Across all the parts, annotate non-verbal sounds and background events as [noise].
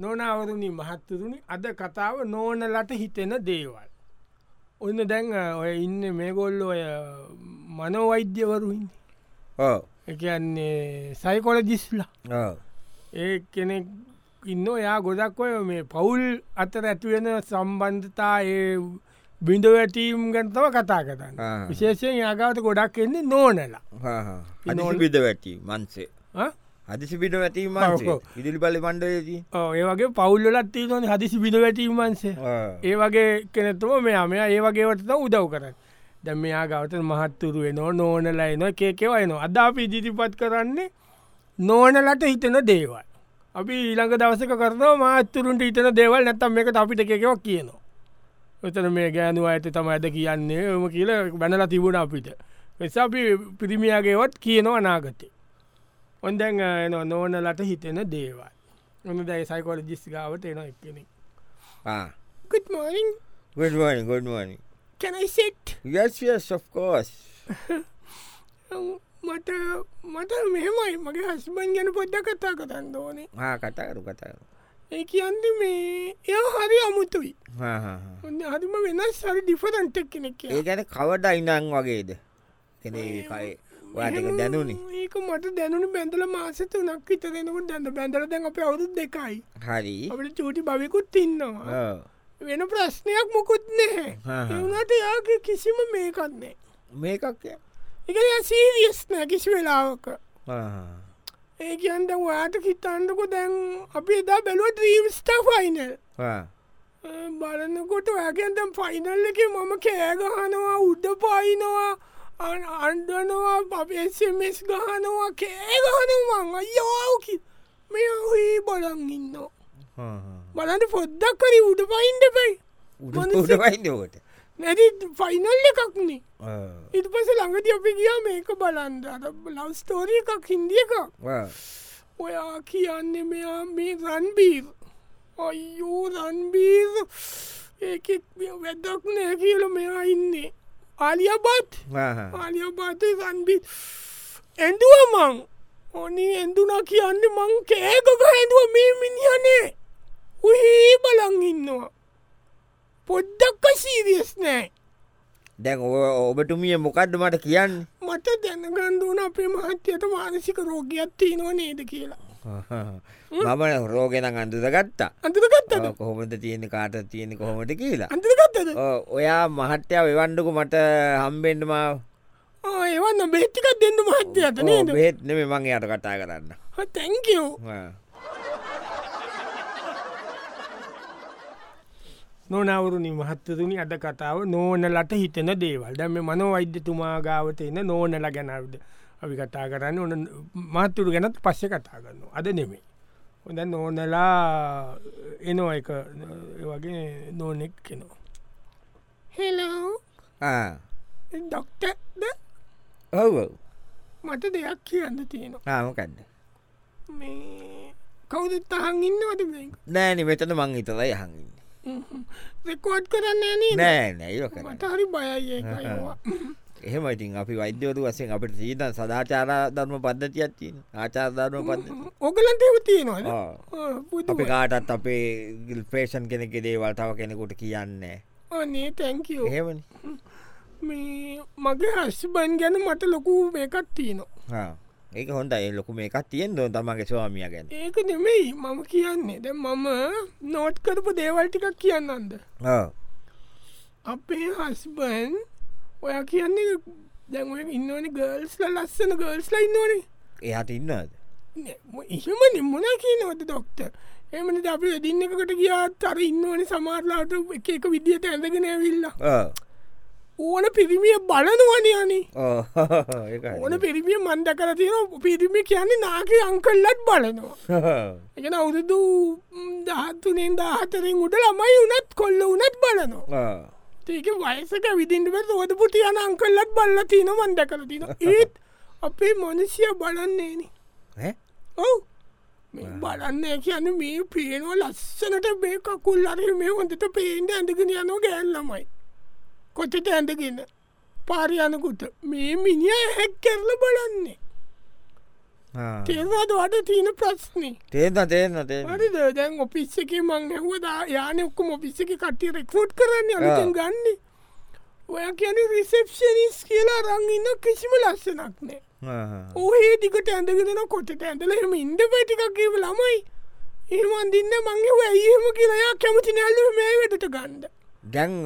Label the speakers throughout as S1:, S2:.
S1: නොනවරුණි මහත්තරුණි අද කතාව නෝනලට හිතෙන දේවල්. ඔන්න දැන් ඔය ඉන්න මේගොල්ල ඔය මනෝවෛද්‍යවරුන් එකන්නේ සයිකොලජිස්ලා ඒ කෙනෙක් ඉන්න යා ගොඩක් ඔය මේ පවුල් අතර ඇතිවෙන සම්බන්ධතා ඒ බිඳවැටීම් ගැනතව කතා කරන්න විශේෂයෙන් යාගාවට ගොඩක් එන්නේ නෝනලා
S2: අනෝල් විද වැටි මන්සේ
S1: හ?
S2: හදිසි පිට වැටීම
S1: ඔව්.
S2: ඉදිරි බල පණ්ඩයකි
S1: ඔව්, ඒ වගේ පවුල්ලත් තිීන හදිසි බිඳවැටීමන්සේ ඒ වගේ කෙනෙතුම මෙයා මෙයා ඒ වගේවට උදව් කරන්න දැම මෙයා ගවට මහත්තුරු වෙනෝ නෝනලා එන කේකෙවයනවා අද අපි ඉදිරිපත් කරන්නේ නෝනලට හිතන දේවල් අපි ඊළඟ දවසක කරනවා මාත්තුරුන්ට හිතන දේවල් නැත්තම් එකට අපිට කෙකව කියනවා එතන මේ ගෑනු ඇත තම ඇද කියන්නේ ම කියල බැනලා තිබුණ අපිට එස අපි පිරිමියගේවත් කියනවා නාගතේ ඔොන්දැන් එන නෝනලට හිතෙන දේවල් ඔන්න දැයි සයිකොල ජිස් ගාවට එන එක්කෙනෙක් Good morning.
S2: ගොඩුවනි ගොඩුවනි
S1: Can I sit?
S2: යස්ය සොෆ්කෝස්
S1: Um, මට මට මෙහෙමයි මගේ හස්බන් ගැන පොඩ්ඩ කතා කරන්න ඕනේ.
S2: හා කතාරු කතාරු
S1: ඒ කියන්ද මේ එය හරි අමුතුයි. ඔන්න හරිම වෙනස් හරි ඩිෆරන්ට කෙනෙක්
S2: ඒ ගැන කවට ඉනං වගේද කෙනකයි ඔයාටක දැනුනි
S1: ඒක මට දැනුණු බැඳල මාස තුනක් විත දෙෙනකුට දැන්න බැඳල දැන් අප අවුත් දෙකයි.
S2: හරි
S1: අපට චූටි භවිකුත් ඉන්නවා.
S2: ඔව්.
S1: වෙන ප්‍රශ්නයක් මොකුත් නැහැ.
S2: හා හා.
S1: එවුණට යාගේ කිසිම මේකත්න්නේ.
S2: මේකක් ය?
S1: එක සීරියස් නෑ කිසි වෙලාවක.
S2: හා
S1: ඒ කියන්ද වාට හිතන්නකො දැන් අපි එදා බැලුව ද්‍රීම්ස්ටා ෆයිනල්
S2: හා.
S1: බලන්නකොට ඔයගන්තම් ෆයිනල් එක මම කෑගහනවා උඩ පයිනවා අන්- අන්ඩනවා පපස්මස් ගහනවා කෑගහනවන් අයෝකි මේ හේ බලන් ඉන්න
S2: හා හා.
S1: බලන්න පොද්දක් කරි උඩ පයින්ඩ පැයි
S2: උඩ-
S1: මනුස්සෙක්-
S2: උඩ වයින්නකොට
S1: නැති ෆයිනල් එකක්නේ ඉට පස ළඟති අපි ගිය මේක බලන්ද ලවස්තෝරිය එකක් හින්දිය එකක් ඔයා කියන්නේ මෙයා මේ රන්බීර් අයෝ රන්බීර් ඒක වැදක් නෑ කියල මෙයා ඉන්නේ අලියබත් අලියබාත රන්බී ඇඳුව මං ඕනේ ඇඳුනා කියන්න මං කෑකක ඇඳුව මේ මිනිියනේ උහේ බලන් ඉන්නවා පොඩ්ඩක්ක සීරියස් නෑ
S2: දැන් ඔ- ඔබටුමිය මොකක්ද මට කියන්න
S1: මට දැනගන්දුවන අපේ මහත්්‍යයට මානසික රෝගයක් තියෙනවා නේද කියලා
S2: [laughs] මම රෝගෙන අඳුද ගත්තා
S1: අඳරගත්තද
S2: ඔව්, කොහොමද තියෙන කාට තියෙන කොහොමට කියලා
S1: අඳරගත්තද
S2: ඔ- ඔයා මහත්්‍යාව එවන්ඩකු මට හම්බෙන්ඩම
S1: ඒවන්න බේච්චිකක් දෙන්න මහත්්‍යයට නේද
S2: බෙත් නෙම මං යට කටා කරන්න
S1: තැංකෝ
S2: ආ.
S1: නොනවරුණි මහත්තතුනි අද කතාව නෝනලට හිතෙන දේවල් දැම මනෝ වෛද්‍යතුමා ගාවට එන්න නෝනල ගැනවිද අපි කතා කරන්න ඕන මාතුරු ගැනත් පස්ස කතා කරන්න අද නෙමේ හොඳ නෝනලා එනෝ එක ඒ වගේ නෝනෙක් කෙනෝ හෙලෝ
S2: ආ.
S1: ඩොක්ටද
S2: ඔව් ඔව්.
S1: මට දෙයක් කියන්න තියෙනවා
S2: ආ, මොකක්ද
S1: මේ කවුද තහන් ඉන්නවද මේ?
S2: නෑන මෙතන මං හිතලයි හඟන්න
S1: හ්ම්. රෙකෝඩ් කරන්න නේද?
S2: නෑ නැයිෝ කර
S1: මට හරි බයයි ඒකයිවා
S2: එහෙම ඉතින් අපි වෛද්‍යවරු වසෙන් අපට සීත සදාචාර ධර්ම පද්ධතියක් තියෙන ආචාර්ධර්ම පද්ධ
S1: ඔගලන්ට එව තියෙනවාද
S2: ආ. අපි
S1: පුදුමයි.
S2: කාටත් අපේ ගිල් ප්‍රේෂන් කෙනෙක දේවල් තව කෙනෙකුට කියන්න
S1: අනේ තැංකෝ
S2: එහෙමනි
S1: මේ මගේ හස්බන් ගැන මට ලොකු මේකත් තියනවා
S2: ආ. ඒක හොඳ ඒ ලොකු මේ එකක් තියෙන් දො තමගේ ස්වාමිය ගැන
S1: ඒක නෙමෙයි මම කියන්නේ දැ මම නෝට් කරපු දේවල්ටිකක් කියන්නන්ද
S2: ආ.
S1: අපේ හස්බන් ඔය කියන්නේ දැන් ඉන්නනි ගර්ල්ස්ල ලස්සන ගර්ල්ස්ලා ඉන්නවනේ
S2: එහට ඉන්නද
S1: එහෙම නිම්මුණ කියනවද දොක්ට එමන අප දින්න එකකට ගියාත් අර ඉන්නවන සමාරලාට එක එක විදිහට ඇඳගෙන ඇවිල්ලා ඕන පිරිමිය බලනවන යනේ ඕන පිරිමිය මන්ද කර තියෙන පිරිමි කියන්නේ නාගේ අංකල්ලත් බලනවා එක අවුරුදු දහත්තුනෙන් දාහතරෙන් උඩ ළමයි උනත් කොල්ල උනත් බලනවා ඒක වයසක විදිින්ටම සෝද පුතියන අංකල්ලත් බල්ල තියන මන්ද කර තින ඒත් අපේ මොනසිය බලන්නේන ඔව බලන්න කියන මේ පේනෝ ලස්සනට මේ කකුල් අර මේ හොඳට පේන්ට ඇඳගෙන යනෝ ගැල්ලමයි කොච්චට ඇඳගෙන පාරයනකුට මේ මිනිිය හැක් කරල බලන්නේ තේරවාද වට තියෙන ප්‍රශ්නේ
S2: තේන තේන තේ
S1: හරිද දැන් ඔපිස්ස එක මං ඇහවදා යාන ඔක්කොම ඔපිස්ස එක කටිය රෙක්ෂෝට් කරන්න අලුතෙන් ගන්න ඔය කියන රිසෙප්ෂනිස් කියලා රංඉන්න කිසිම ලස්සනක් නෑ ඕහේ දිකට ඇඳගෙන කොටට ඇඳල එම ඉන්ඩ පැටිකක් කියව ළමයි ඒමන් දින්න මංගේ ඇයම කියලයා කැමති නැල්ලු මේ වැටට ගන්ඩ
S2: දැන්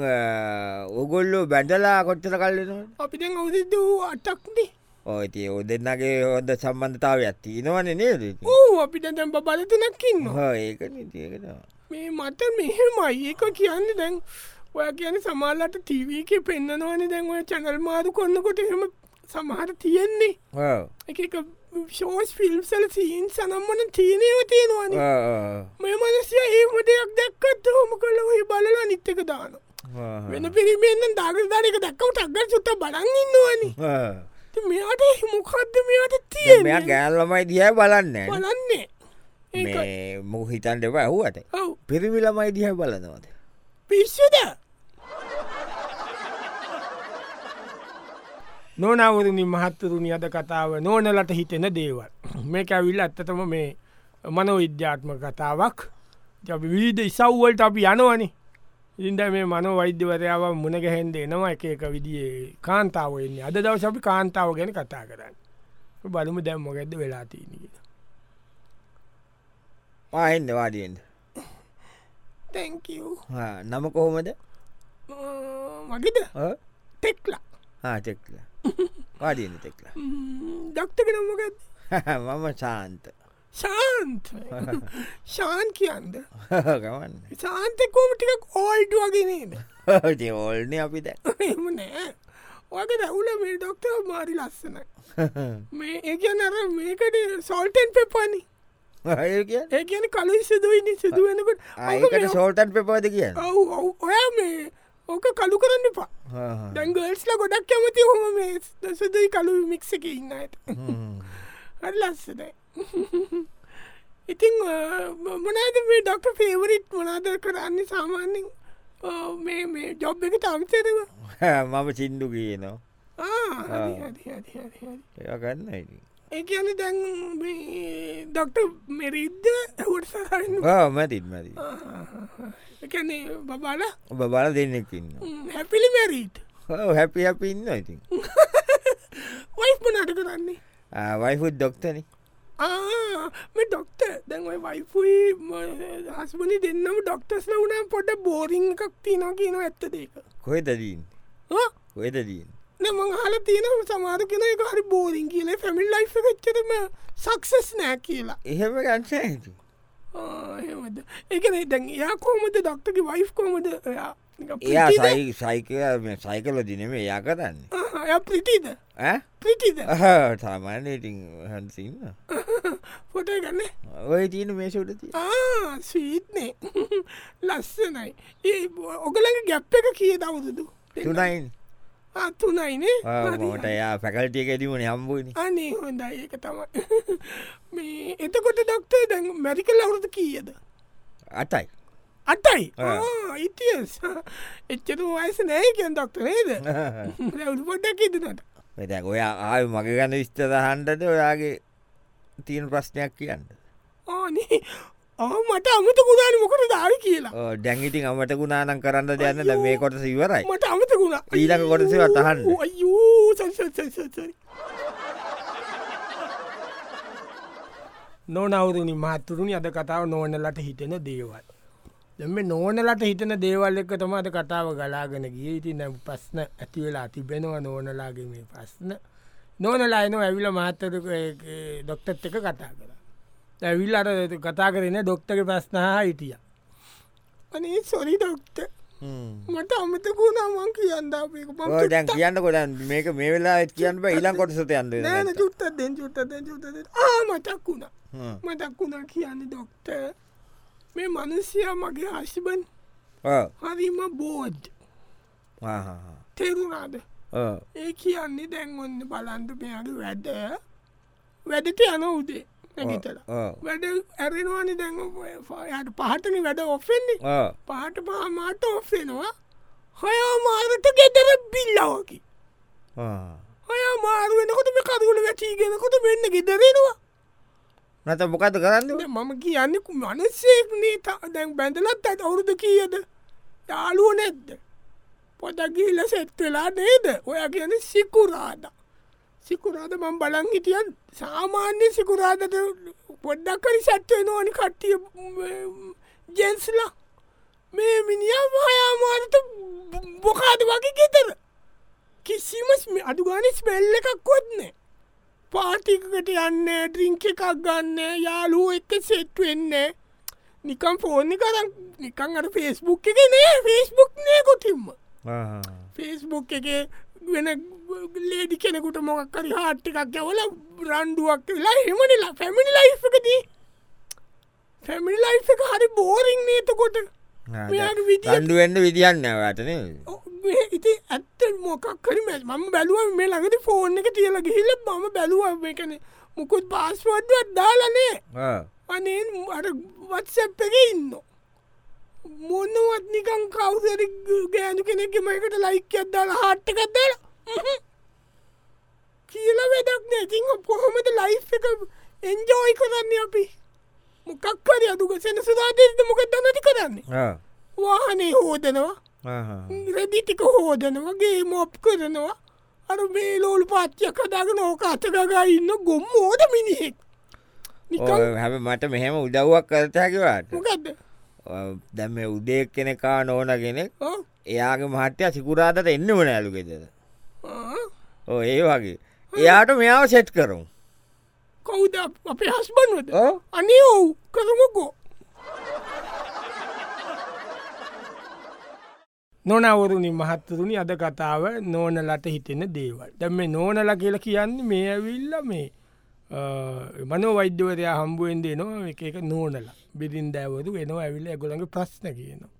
S2: ඔගොල්ලෝ බැඩලා කොච්චර කල්ලනවා
S1: අපි දැන් අවුදු අටක්නේ
S2: ඕයිති ඔ දෙන්නගේ හොද සම්බන්ධතාව ඇත්ති නවන නේද
S1: ඕ අපි දැම් බලතනක්කින්න
S2: ඒක නතියකට
S1: මේ මට මෙහෙමයි ඒක කියන්න දැන් ඔය කියන සමාල්ලට ටීවීක පෙන්න්නනවන දැන් ඔය චැනල් මාරු කොන්නකොට එහෙම සමහර තියෙන්නේ එක එක ෂෝස් ෆිල්ම්සල සීන් සනම්මන තියනයව තියෙනවාන මේ මනසිය ඒම දෙයක් දැක්කත් හොම කළ ඔහි බලලා නිත්තක දාන වෙන පිරිමෙන්න්න දාගදානක දැක්කවට අක්ග සුත්ත බලන්නන්නවානි මෙයාට මොකක්ද මෙයාට තියෙන
S2: මෙයා ගෑල්ලමයි දිය බලන්න
S1: බලන්නේ ඒ
S2: මු හිතන් දෙව ඇහුවට
S1: ඔව්
S2: පිරිවිලමයි දිහ බලනවද
S1: පිස්සුද නොනවරණින් මහත්තුරුණි අද කතාව නෝනලට හිතෙන දේවල් මේක ඇවිල් ඇත්තතම මේ මනෝ විද්‍යාත්ම කතාවක් ජබි විීධ ඉසව්වලට අපි යනවනි ඉන්ද මේ මනෝ වෛද්‍යවරයාව මුණගැහෙන්ද එනවා එක එක විදිියේ කාන්තාව එන්නේ අද දව අපි කාන්තාව ගැන කතා කරන්න බලමු දැම්ම ගැද වෙලා තියනගෙන
S2: පාහෙන්ද වාඩියෙන්ද
S1: තැංකූ
S2: නම කොහොමද
S1: මගේද තෙක්ලා
S2: ආටෙක්ල වාඩියන්න තෙක්ල
S1: දක්තගෙනමගත්
S2: [laughs] මම ශාන්ත
S1: ශාන්ත ශාන් කියන්ද
S2: ගමන්න
S1: සාන්තකෝමටික කෝල්ඩ වගෙනේද
S2: ඕල්න අපි දැ [laughs]
S1: එම නෑ වගේ දැවුල මේ ඩොක්ටර් මාරි ලස්සන මේ ඒගැන අර මේකට සෝල්ටෙන් පෙපනි ඒ කියන කලු සිදුවනි සිදුවෙනකට
S2: අයකට සෝටන් පෙපෝද කියන
S1: ඔව් ඔව් ඔයා මේ ඕක කලු කරන්න එපා දැංගල්ස්ල ගොඩක් කැමති හොම මේ සුදයි කලු මික්ස එක ඉන්න ඇත හරි ලස්සනයි ඉතිං මොනාද මේ ඩොක්ට ෆේවරිට් මොනාද කරන්නේ සාමාන්‍යෙන් අ, මේ මේ ජොබ් එක තම්සරව
S2: [laughs] මම සින්දු කියනවා ඒගන්න
S1: ඒකන දැන් ඩොක්ට මෙරිද්ද ඇවට සහන්න
S2: මැතිත් මැති
S1: එකනේ බබාල
S2: ඔබ බල දෙන්නෙක් ඉන්න
S1: හැපිලි මැරීට්
S2: හැපි අපි ඉන්න ඉතින්
S1: වයිස් මනාට කරන්නේ
S2: වයිෆුත් ඩොක්ටන
S1: ආ, මේ ඩොක්ට දැන් ඔය වයිෆයි හස්මනි දෙන්නම ඩොක්ටස්ල වුණම් පොට බෝරිං එකක් තියන කියන ඇත්ත දෙක
S2: කොහෙතදීන්
S1: ආ,
S2: කොහෙතදීන්
S1: නෑ මං හල තියන සමාර කෙන එක හරි බෝරිං කියන ෆැමිල් ලයි් එකච්චරම සක්සස් නෑ කියලා
S2: එහෙම ගන්ස ඇති
S1: ආ, එහෙමද ඒකන දැන් එයා කෝමද ඩක්ටගේ වයිෆ් කෝමද එයා
S2: එයා සයි සයිකය සයිකල දිනම එයා කරන්න
S1: එය ප්‍රිටිද ප්‍රිටිද
S2: [laughs] සාමාන්‍ය ඉතින් හන්සින්න
S1: පොට ගන්න
S2: ඔය තියන මේසුට තිය
S1: ස්වීත්නේ [laughs] ලස්සනයි ඒ ඔගලගේ ගැප් එක කිය දවුදුදු
S2: තුනයින්
S1: අත්තුනයිනේ
S2: මෝට එයා පැකල්ටියක ඇතිවුණ හම්බුවනි
S1: අනේ හොඳයි ඒක තමයි [laughs] මේ එතකොට ඩක්ටේ දැන් මැරිකල් අවුරුදු කියද
S2: අටයි [laughs]
S1: අටයි
S2: ආ.
S1: ඉතිස් එච්චර වයස නෑ කියෙන් ඩක්ට නේද රැවුල් පොඩ්ඩක් ඉදනට
S2: මෙත ඔයා ආය මගේ ගන්න විස්තදහන්ටට ඔයාගේ තියෙන ප්‍රශ්නයක් කියන්න
S1: ඕනේ ඕ මට අමත කුණාන මොකට දාර කියලා
S2: ඩැංගිටින් අමට ගුණානම් කරන්න දෙයන්න ද මේ කොටස ඉවරයි
S1: මට අමත ගුණා
S2: ඊළඟ කොටසේ වටහන්න.
S1: අයූ නොනවරුණි මහත්තුරුණි අද කතාව නෝනලට හිතෙන දේවල්. දෙම නෝනලට හිතන දේවල් එක තම අද කතාව ගලාගෙන ගිය ඉති නැ ප්‍රස්්න ඇතිවෙලා තිබෙනවා නෝනලාගේ මේ ප්‍රස්්න නෝනලායන ඇවිල මාතර ඩොක්ටත් එක කතා කර. ඇවිල් අර කතා කරන ඩොක්ටක ප්‍රස්්නහා හිටිය. අනේ සොරි ඩොක්ට මට අමතකුණ මං කියන්දාපක
S2: ඔය දැන් කියන්න කොඩන් මේක මේ වෙලා කියන්න බෑ ඊළං කොටසත යන්ද
S1: නෑන චුත්තත්දෙන් චුත්තදෙන් චුත්තද ආමතක්කුණ මතක්කුණා කියන්න දොක්ට මේ මනුස්්‍යයා මගේ ආශිබන් හරිම බෝඩ් තෙරුණාද ඒ කියන්නේ දැන්වන්න බලන්ට මෙයාගේ වැඩ වැඩට යන උදේ නැගතල වැඩ ඇරෙනවානි දැන් යට පහටන වැඩ ඔෆෙන්නේ පහට පාමාට ඔෆෙනවා හොයා මාරට ගෙදර බිල්ලවකි හොයා මාරුවෙනකොට මේ කරුණ වැටීගෙනකොට වෙන්න ගෙදරෙනවා
S2: නැත මොකද කරන්න
S1: මම කියන්න මනස්සේක්නේ දැන් බැඳලත් ඇත් අවුරුද කියද යාලුව නැද්ද පොතගීල සෙත්වෙලා නේද ඔය කියන සිකුරාද සිකුරාද මං බලන් හිටියන් සාමාන්‍ය සිකුරාදට පොඩ්ඩක්කරි සැත්වය නොනි කට්ටිය ජෙන්ස්ලා මේ මිනිිය මහයාමාරත බොකාද වගේ ගෙතර කිසිම අඩුගානස් බැල්ල එකක්කොත්නෑ පාටිකට යන්න ඩ්‍රිංක එකක් ගන්න යාලුව එක සෙට් වෙන්න නිකම් ෆෝර්ණ කරන්න නිකං අට ෆෙස්බුක් එක නේ ෆෙස්බුක් නය කොටින්ම ෆෙස්බුක් එක වෙන ලේඩි කෙනෙකුට මොකක්කරි හාට් එකක් ගැවල බ්‍රන්්ඩුවක් වෙලා හෙමනිලා පැමිණි ලයි්කදී පැමිණි ලයි් එක හරි බෝරිං නේතකොට
S2: ඩුවෙන්ඩ විදිියන්න වැටන
S1: ඉති ඇත්ත මොකක්කරම මම බැලුව මේ ළඟට ෆෝන් එක තියලා ගිහිල මම බැලුව එකන මුකුත් පාස්වඩ්ුවත් දාලනේ අනේ අර වත්සැප් එක ඉන්න මොන්නවත් නිකන් කවුදර ගෑනු කෙනෙක් මයකට ලයික අදදාලා හට්ට කත්දල කියලා වැඩක් නෑ තිං කොහොමද ලයි් එක එන්ජෝයි කරන්න අපි මොකක්කරි අදුක සෙනසුදාදේද මොකක් දන්නති කරන්නේ වාහනේ හෝදනවා රෙදිටික හෝදනවගේ මොප් කරනවා අර මේ ලෝල් පාච්චයක් කදාගෙන ඕක අතකගා ඉන්න ගොම් මෝද මිනිහෙක්
S2: හැම මට මෙහෙම උදව්වක් කරතකිවට
S1: මොකක්ද
S2: දැම උදේ කෙනෙකා නෝන කෙනෙක් එයාගේ මහට්‍යය සිකුරාතට එන්න වන ඇලුගෙදද ඕ ඒ වගේ එයාට මෙයාව සෙට් කරුම්
S1: කවුද අපේ හස්බන්වද අනේ ඔව් කරමකෝ නොනවරුණි මහත්තරුණි අද කතාව නෝනලට හිතෙන දේවල් දැම මේ නෝනල කියල කියන්න මේ ඇවිල්ල මේ මනෝ වෛද්‍යවරයා හම්බුවෙන්දේ නොව එක එක නෝනල බිරිින් දෑවරු වෙනවා ඇවිල්ල ඇගොළඟ ප්‍රශ්න කියනවා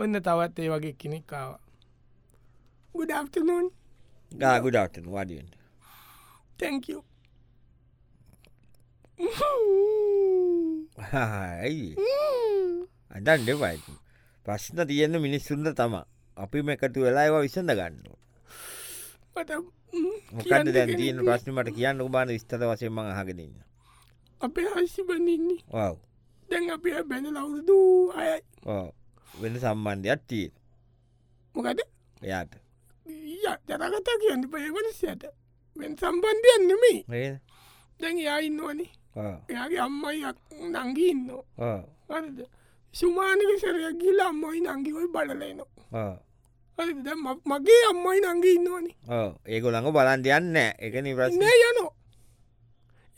S1: ඔන්න තවත් ඒ වගේ කෙනෙක් කාව ගුඩානෝන්
S2: ගාගුඩාට වඩියෙන්ට
S1: තැක
S2: ඇයි අඩන් දෙවයිතු ප්‍රශ්න තියෙන මිනිස්සුන්ද තම අපි මේකතු වෙලා ඒවා විසඳ ගන්න මොකද දැන් තියෙන ප්‍රශ්නමට කියන්න උබාන විස්තර වසයෙන්ම හගදන්න
S1: අපේ හසි බඳන්නේ
S2: වව්
S1: දැන් අපි බැඳ ලවුරුදු අයයි
S2: වෙන සම්බන්ධයක් තියෙන
S1: මොකද
S2: එයාට
S1: ජරගතා කියන්න පයවලසියට වෙන් සම්බන්ධයන් නෙමේ
S2: ඒ
S1: දැන් යා ඉන්නවනේ එයාගේ අම්මයි නංගී ඉන්නෝ වරද සුමානක සරයක් ගිල අම්මයි නංගිවයි බලලනවා හරි දැන් ම- මගේ අම්මයි නංගී ඉන්නවනේ
S2: ඒක ළඟ බලන්ට යන්න එක නිවරශන
S1: නෑ යනෝ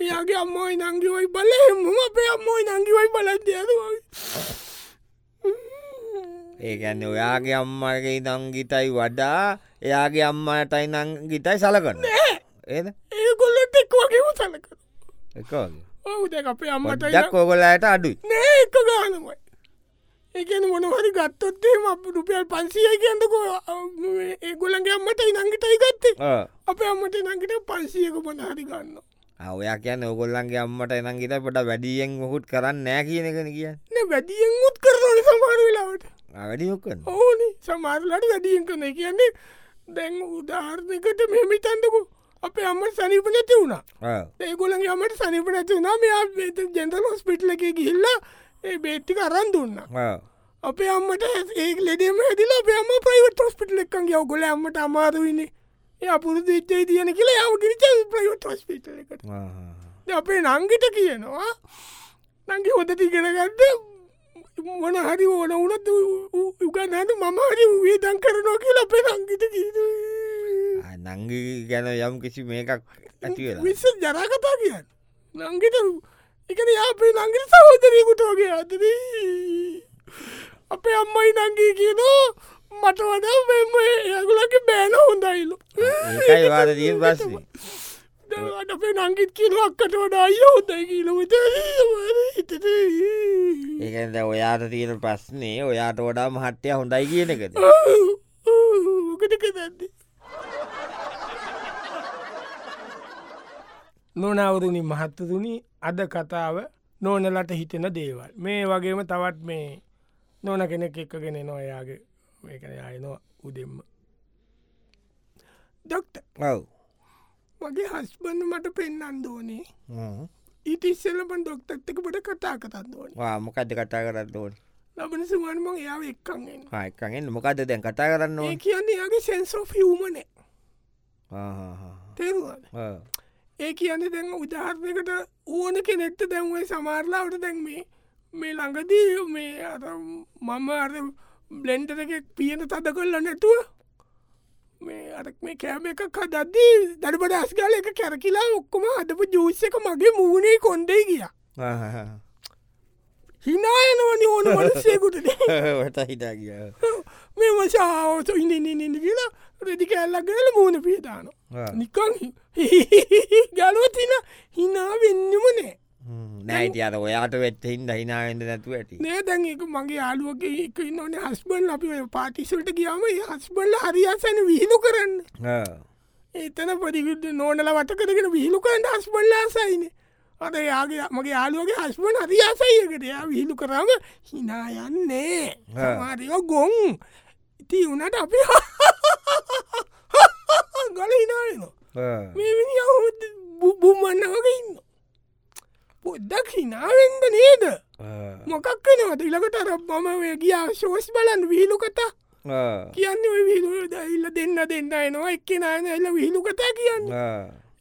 S1: එයාගේ අම්මයි නංගිවයි බල මුම අපේ අම්මයි නංගිවයි බලද්‍යයදවයි
S2: ඒකැන්න ඔයාගේ අම්මගේ නංගිතයි වඩා එයාගේ අම්මටයි නංගිතයි සලකන්න ඒද
S1: ඒගොල්ලොට එක් වගේම සලක
S2: එකගේ
S1: ඔවුද අපේ අම්මටයි
S2: මටක් කෝගලයට අඩුයි
S1: නෑ එක ගානමයි ඒකන මොනහරි ගත්තොත්තේ අප රුපියල් පන්සිය කියන්නකෝ eh, ඒගොලන්ගේ අම්මටයි නංගිටයි ගත්තේ
S2: ආ.
S1: අපේ අම්මට නංගිට පන්සියක පොනහරි ගන්න
S2: ආ, ඔයා කියන්න ඔගොල්ලන්ගේ අම්මට එනංගිට පොට වැඩියෙන් මොකුත් කරන්න නෑ කියන එකන කිය
S1: නෑ වැඩියෙන් උත් කරන සමාර වෙලාවට
S2: වැඩියොක්කන්න
S1: ඕනි සමාරලට වැඩියෙන් කන කියන්නේ දැන් උදාර්ධකට මෙමිතන්තකු අපේ අම්ම සනිප නැති වුණා ඒගොලන් අමට සනිප නැති වුණා මෙයා බේත ජෙන්තල් හොස්පිටල එක ගිල්ලා ඒ බේට්ටි කරන් දුන්න අපේ අම්මට ඒ ලෙඩේම ඇදිලා බෑම ප්‍රයිවට ොස්පිටල එකන් ගව ගොල අම්මට අමාරුවන්නේ ඒ අපපුරු දේච්චේ තියන කියලා යාමගිරිච ප්‍රයිවට ොස්පිටල එකට දැන් අපේ නංගිට කියනවා නංගි හොඳ තිගෙනගත්ද මොන හරි ඕන උනත් යුගන්නට මම හරි වේදන් කරනවා කියල අපේ නංගිට කිය
S2: නංගි ගැන යම් කිසි මේකක් ඇතිවෙලා
S1: විස්ස ජරාකතා කියන්න නංගිට එකන අපේ නංගිට සහෝදරයකුටෝගේ අතර අපේ අම්මයි නංගේ කියනෝ මට වඩ මෙම ඇගුලගේ බෑන හොඳයිලු
S2: ඒකයි වාද තියෙන් ප්‍රශ්න
S1: දවට අපේ නංගිත් කියලක්කට වඩා අය හොඳයි කියලවිත හිතට
S2: ඒකද ඔයාට තියෙන ප්‍රශ්නේ ඔයාට වඩා මහට්ටය හොඳයි කියන එකද
S1: ඕකටක දැන්නේ නොනවරුණි මහත්තතුනි අද කතාව නෝනලට හිතෙන දේවල් මේ වගේම තවත් මේ නොන කෙනෙක් එක්කගෙන නොයාගේ මේකන යනවා උදෙම්ම දොක්ට
S2: ඔව්
S1: මගේ හස්බන්න මට පෙන්න්න දෝනේ
S2: හ්ම්.
S1: ඉතිස්සලපන් ඩොක්ටත්තක පොට කතා කතන්න ඕන
S2: මොකක්ද කතා කරන්න ඕන
S1: ලබන සුවන්ම එයාව එක්කන්ගෙන
S2: එකගෙන් මොකද දැන් කතා කරන්න ඕන
S1: ඒ කියන්නේ යාගේ සෙන්සෝ ියවමනේ තේරුවද ඒ කියන්න දැන් උදාහරණකට ඕන කෙනෙක්ට දැන්ුවේ සමාරලාවට දැන් මේ මේ ළඟදී මේ අර මම අර බ්ලෙන්ටරකෙක් පියන තද කොල්ල නැතුව මේ අර මේ කෑම එකක් හදද්දී දඩබට අස්ගාල එක කැරකිලා ඔක්කොම හදපු ජූස එක මගේ මූුණේ කොන්්ඩේ ගිය
S2: [laughs]
S1: හිනායනවනි ඕන මනසයකුටද
S2: වට හිතා කිය
S1: මේ මශාවස ඉන්නන්න කියලා රෙදි කැල්ලක්ගල මූුණ පියදාන
S2: Ah.
S1: නිකං [laughs] ගලෝතින හිනා වෙන්නම නෑ
S2: නැයිති අර ඔයාට වෙත්තහින් දහිනාවෙන්ද නැතුව ඇති
S1: නෑ දැන් එක මගේ යාලුවගේ එක නොන හස්බල් අපි ඔය පාටිසල්ට ගියාම ඒ හස්බල්ල හරියාසන විහිලු කරන්න එතන පොඩිගුද නෝනල වට කරගෙන විහිලු කරන්න හස්බල්ලාසයින අද යාගේ මගේ යාලුවගේ හස්බන් හරියාසයකට යා විහිලු කරම හිනායන්නේ මාරියෝ ගොන් ඉති වනට අපි [laughs] ගල හිනාරෙනවා මේවිනි අවුත් බුම්මන්නකක ඉන්න පොද්දක් හිනාවෙන්ද නේද මොකක් නවද ඉලකට අර මම ඔය ගියා ශෝස් බලන් විහිලු කතා කියන්න ඔය විහිලු ඉල්ල දෙන්න දෙන්න එනවා එක්කෙනන එල්ල විහිලු කතා කියන්න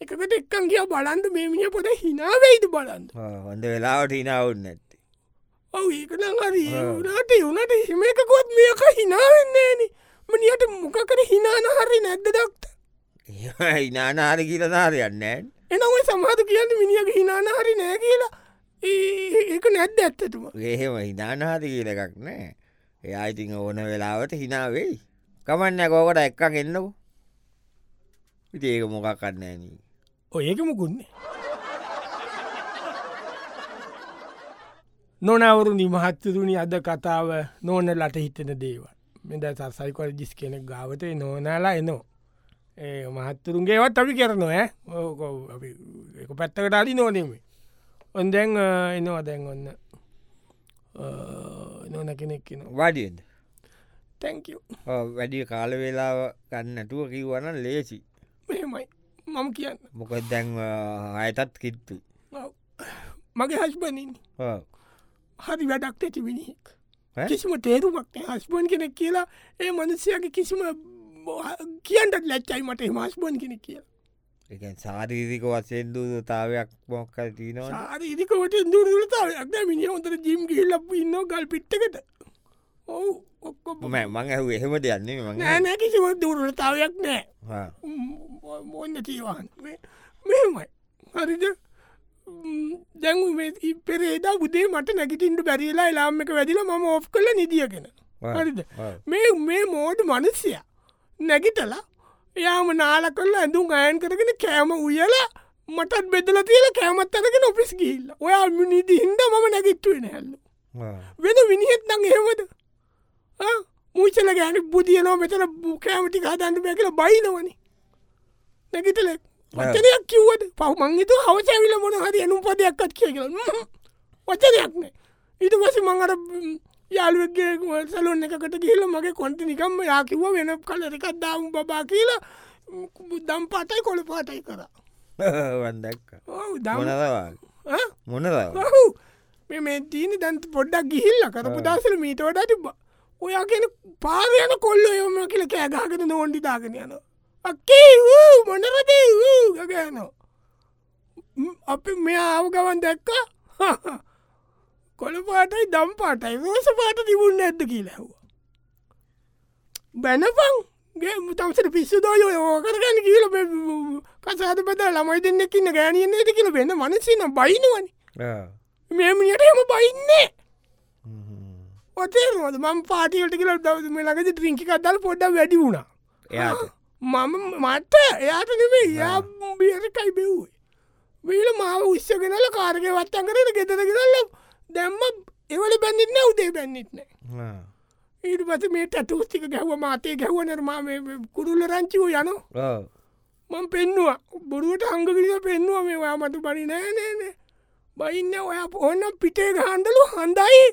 S1: එකකට එක්කන් කිය බලන්ද මේමිය පොද හිනාවෙයිද බලන්න
S2: හොඳ වෙලාවට හිනාවන්න ඇත්ති
S1: ඔව ඒකන හරි රට වුනට හිමකකොත් මේක හිනාවෙන්නේන මනියට මොකකට හිනාන හරි නැද්ද දක්ත
S2: හිනානාර කියලනාරයන්න
S1: එනව සමහතු කියන්න මිනිියක හිනාන හරි නෑ කියලා ඒ- ඒක නැද්ද ඇත්තතුම
S2: එහෙම හිනානාර කියල එකක් නෑ එයා ඉතින් ඕන වෙලාවට හිනාවෙයි කමන්න කෝකට එක්කක් එන්නකු ඉති ඒක මොකක් කන්නෑන
S1: ඔයක මුකුන්නේ නොනවරු නිමහත්තතුනි අද කතාව නෝනලට හිතෙන දේවල් මෙද සසයිකොල් ජිස් කෙනෙක් ගාවතේ නෝනාලා එනෝ ඒ මහත්තුරුන්ගේවත් අපි කරනවා ඈ. ඕක අපි එක පැත්තකට අරි නෝනෙමේ ඔොන්දැන් එනවා දැන් ඔන්න නොන කෙනෙක් න
S2: වඩියෙන්ද
S1: තැංක
S2: වැඩි කාල වෙලාව ගන්නටුව කිව්වන ලේසි
S1: මෙමයි මම කියන්න
S2: මොක දැන් අයතත් කිත්තු
S1: ඔව්. මගේ හස්බනින් හරි වැඩක් නැති මිනිහෙක්
S2: ඈ?
S1: කිසිම තේරුමක් හස්බන් කෙනෙක් කියලා ඒ මනුස්සයගේ කිසිම කියන්ට ලැච්චයි මට මස්බන් කෙනෙ කියලා
S2: එක සාරීරික වසෙන් දූතාවයක් මොක්කල් තිීනවා
S1: ආරිදිකොට දුරතාවයක්ද මිනි හොතර ජිම් ගිල්ලප ඉන්න ගල් පිට්ටකට ඔවු ඔක්කොම
S2: මම ඇහ එහෙම දෙයන්නේ මගේ
S1: නෑනෑ කිසිම දුරතාවයක් නෑ මොන්න තිීවාන් මෙමයි හරිද දැන් පෙරේදා බුදේ මට නැගිටින්ට බැරිලා එලාම එක වැදිල මම ඔෆ් කල නිදියගෙන හරිද මේ මේ මෝඩ මනුස්්‍යය නැගිටලා යාම නාල කල්ල ඇඳුම් අයන් කරගෙන කෑම උයලා මටත් බෙදල තියල කෑමත් අරගෙන ඔපිස් ගිල්ල ඔයා මිනිදි හින්ද මම නැගිට්ටුවෙන හැල්ලු වෙන විනිහෙත් නං එහෙමද මූචල ගෑන බුදියනෝ මෙතන කෑමටි හදන්න බැ කියල බයිනවනි නැගිටල වචනයක් කිව්වට පව මංගේතු හවසැවිල මොන හරි එනුම් පදයක්කත් කිය කියල වචනයක් නෑ ඊට පස මංගර යාල්ුවගේ සලොන් එකට කියල මගේ කොන්ටි නිකම්ම යාකිව වෙන කල එකක් දාම් බා කියලා දම් පටයි කොළ පාටයි කර
S2: වන්දක්
S1: දම
S2: මොනදවා මොනදවා
S1: ඔහු මේ මේ දීන දැන්ත පොඩ්ඩක් ගිහිල්ල කරපු දසල මීට වඩා තිබ ඔයා කියෙන පාරයන කොල්ල යොම කියල කෑගාගෙන නෝන්ඩි දාගෙන යන අක්කේ වූ මොනරදේ වූ ගගයනෝ අපි මෙයාාව ගවන් දැක්ක [laughs] කොළ පාටයි දම් පාටයි රෝස පාට තිබුණ ඇද කියලැහවා බැනපං ගේ මුතම්සට පිස්සු දෝය ඕකරගන්න කියල කසාද පත ළමයි දෙන්නෙක්කින්න ගෑනියන්න ඇති කියල වෙන්න මනසින බයිනවනි මෙමනියට එම බයින්නේ ඔතේමද මම පාටියට කියල දවස මේ ලඟද ්‍රිංකි කදල් පොඩ්ඩ වැඩි වුණා
S2: එයාට
S1: මම මට එයාට නෙමේ යා බියටකයි බෙව්වේ වීල මාව උස්සගෙනල කාරගය වත්තන් කරන ගෙතරගෙනල්ල දැම්ම එවල බැඳින්න උදේ බැන්නෙත්නෑ
S2: ආ.
S1: ඊට පස මේ ටැටූස්තික ගැහව මාතේ ගැහව නිර්මාම කුරුල්ල රංචිවූ යනවා
S2: ඔව්.
S1: මං පෙන්නවා බොරුවට හංගකිල පෙන්වා මේවා මතු පරි නෑනෑන බයින්න ඔයා ඔන්න පිටේ ගහන්ඩලු හඳයි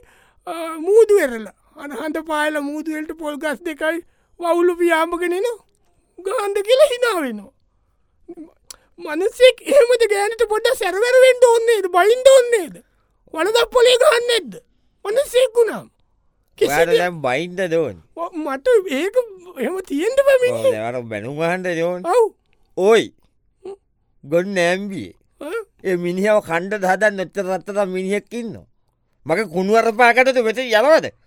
S1: මූදු වෙරල අනහන්ත පාල මූදුවලට පොල් ගස් දෙකයි වවුලු පියාමගෙනන ගහන්ද කියලා හිනාවෙනවා මනසෙක් එහමද ගෑනට පොඩ සැරවරෙන්ට ඔන්නේද බලින්ද ඔන්නේද වලදක් පොලේ ගන්න එද්ද මනසෙක් වුණම්
S2: ඔයාටම් බයින්ද දෝන්
S1: මට ඒක එම තියෙන්ට පැමිණ
S2: ට බැනුමහන්ට දෝන්
S1: ඔව්
S2: ඕයි ගොඩ නෑම්බියේ ඒ මිනිහාව කණ්ඩ දහදන් නොච්ච රත්තත මිනිහෙක්කින්න මගේ කුණුවරපාකටද වෙත යනවද
S1: [laughs]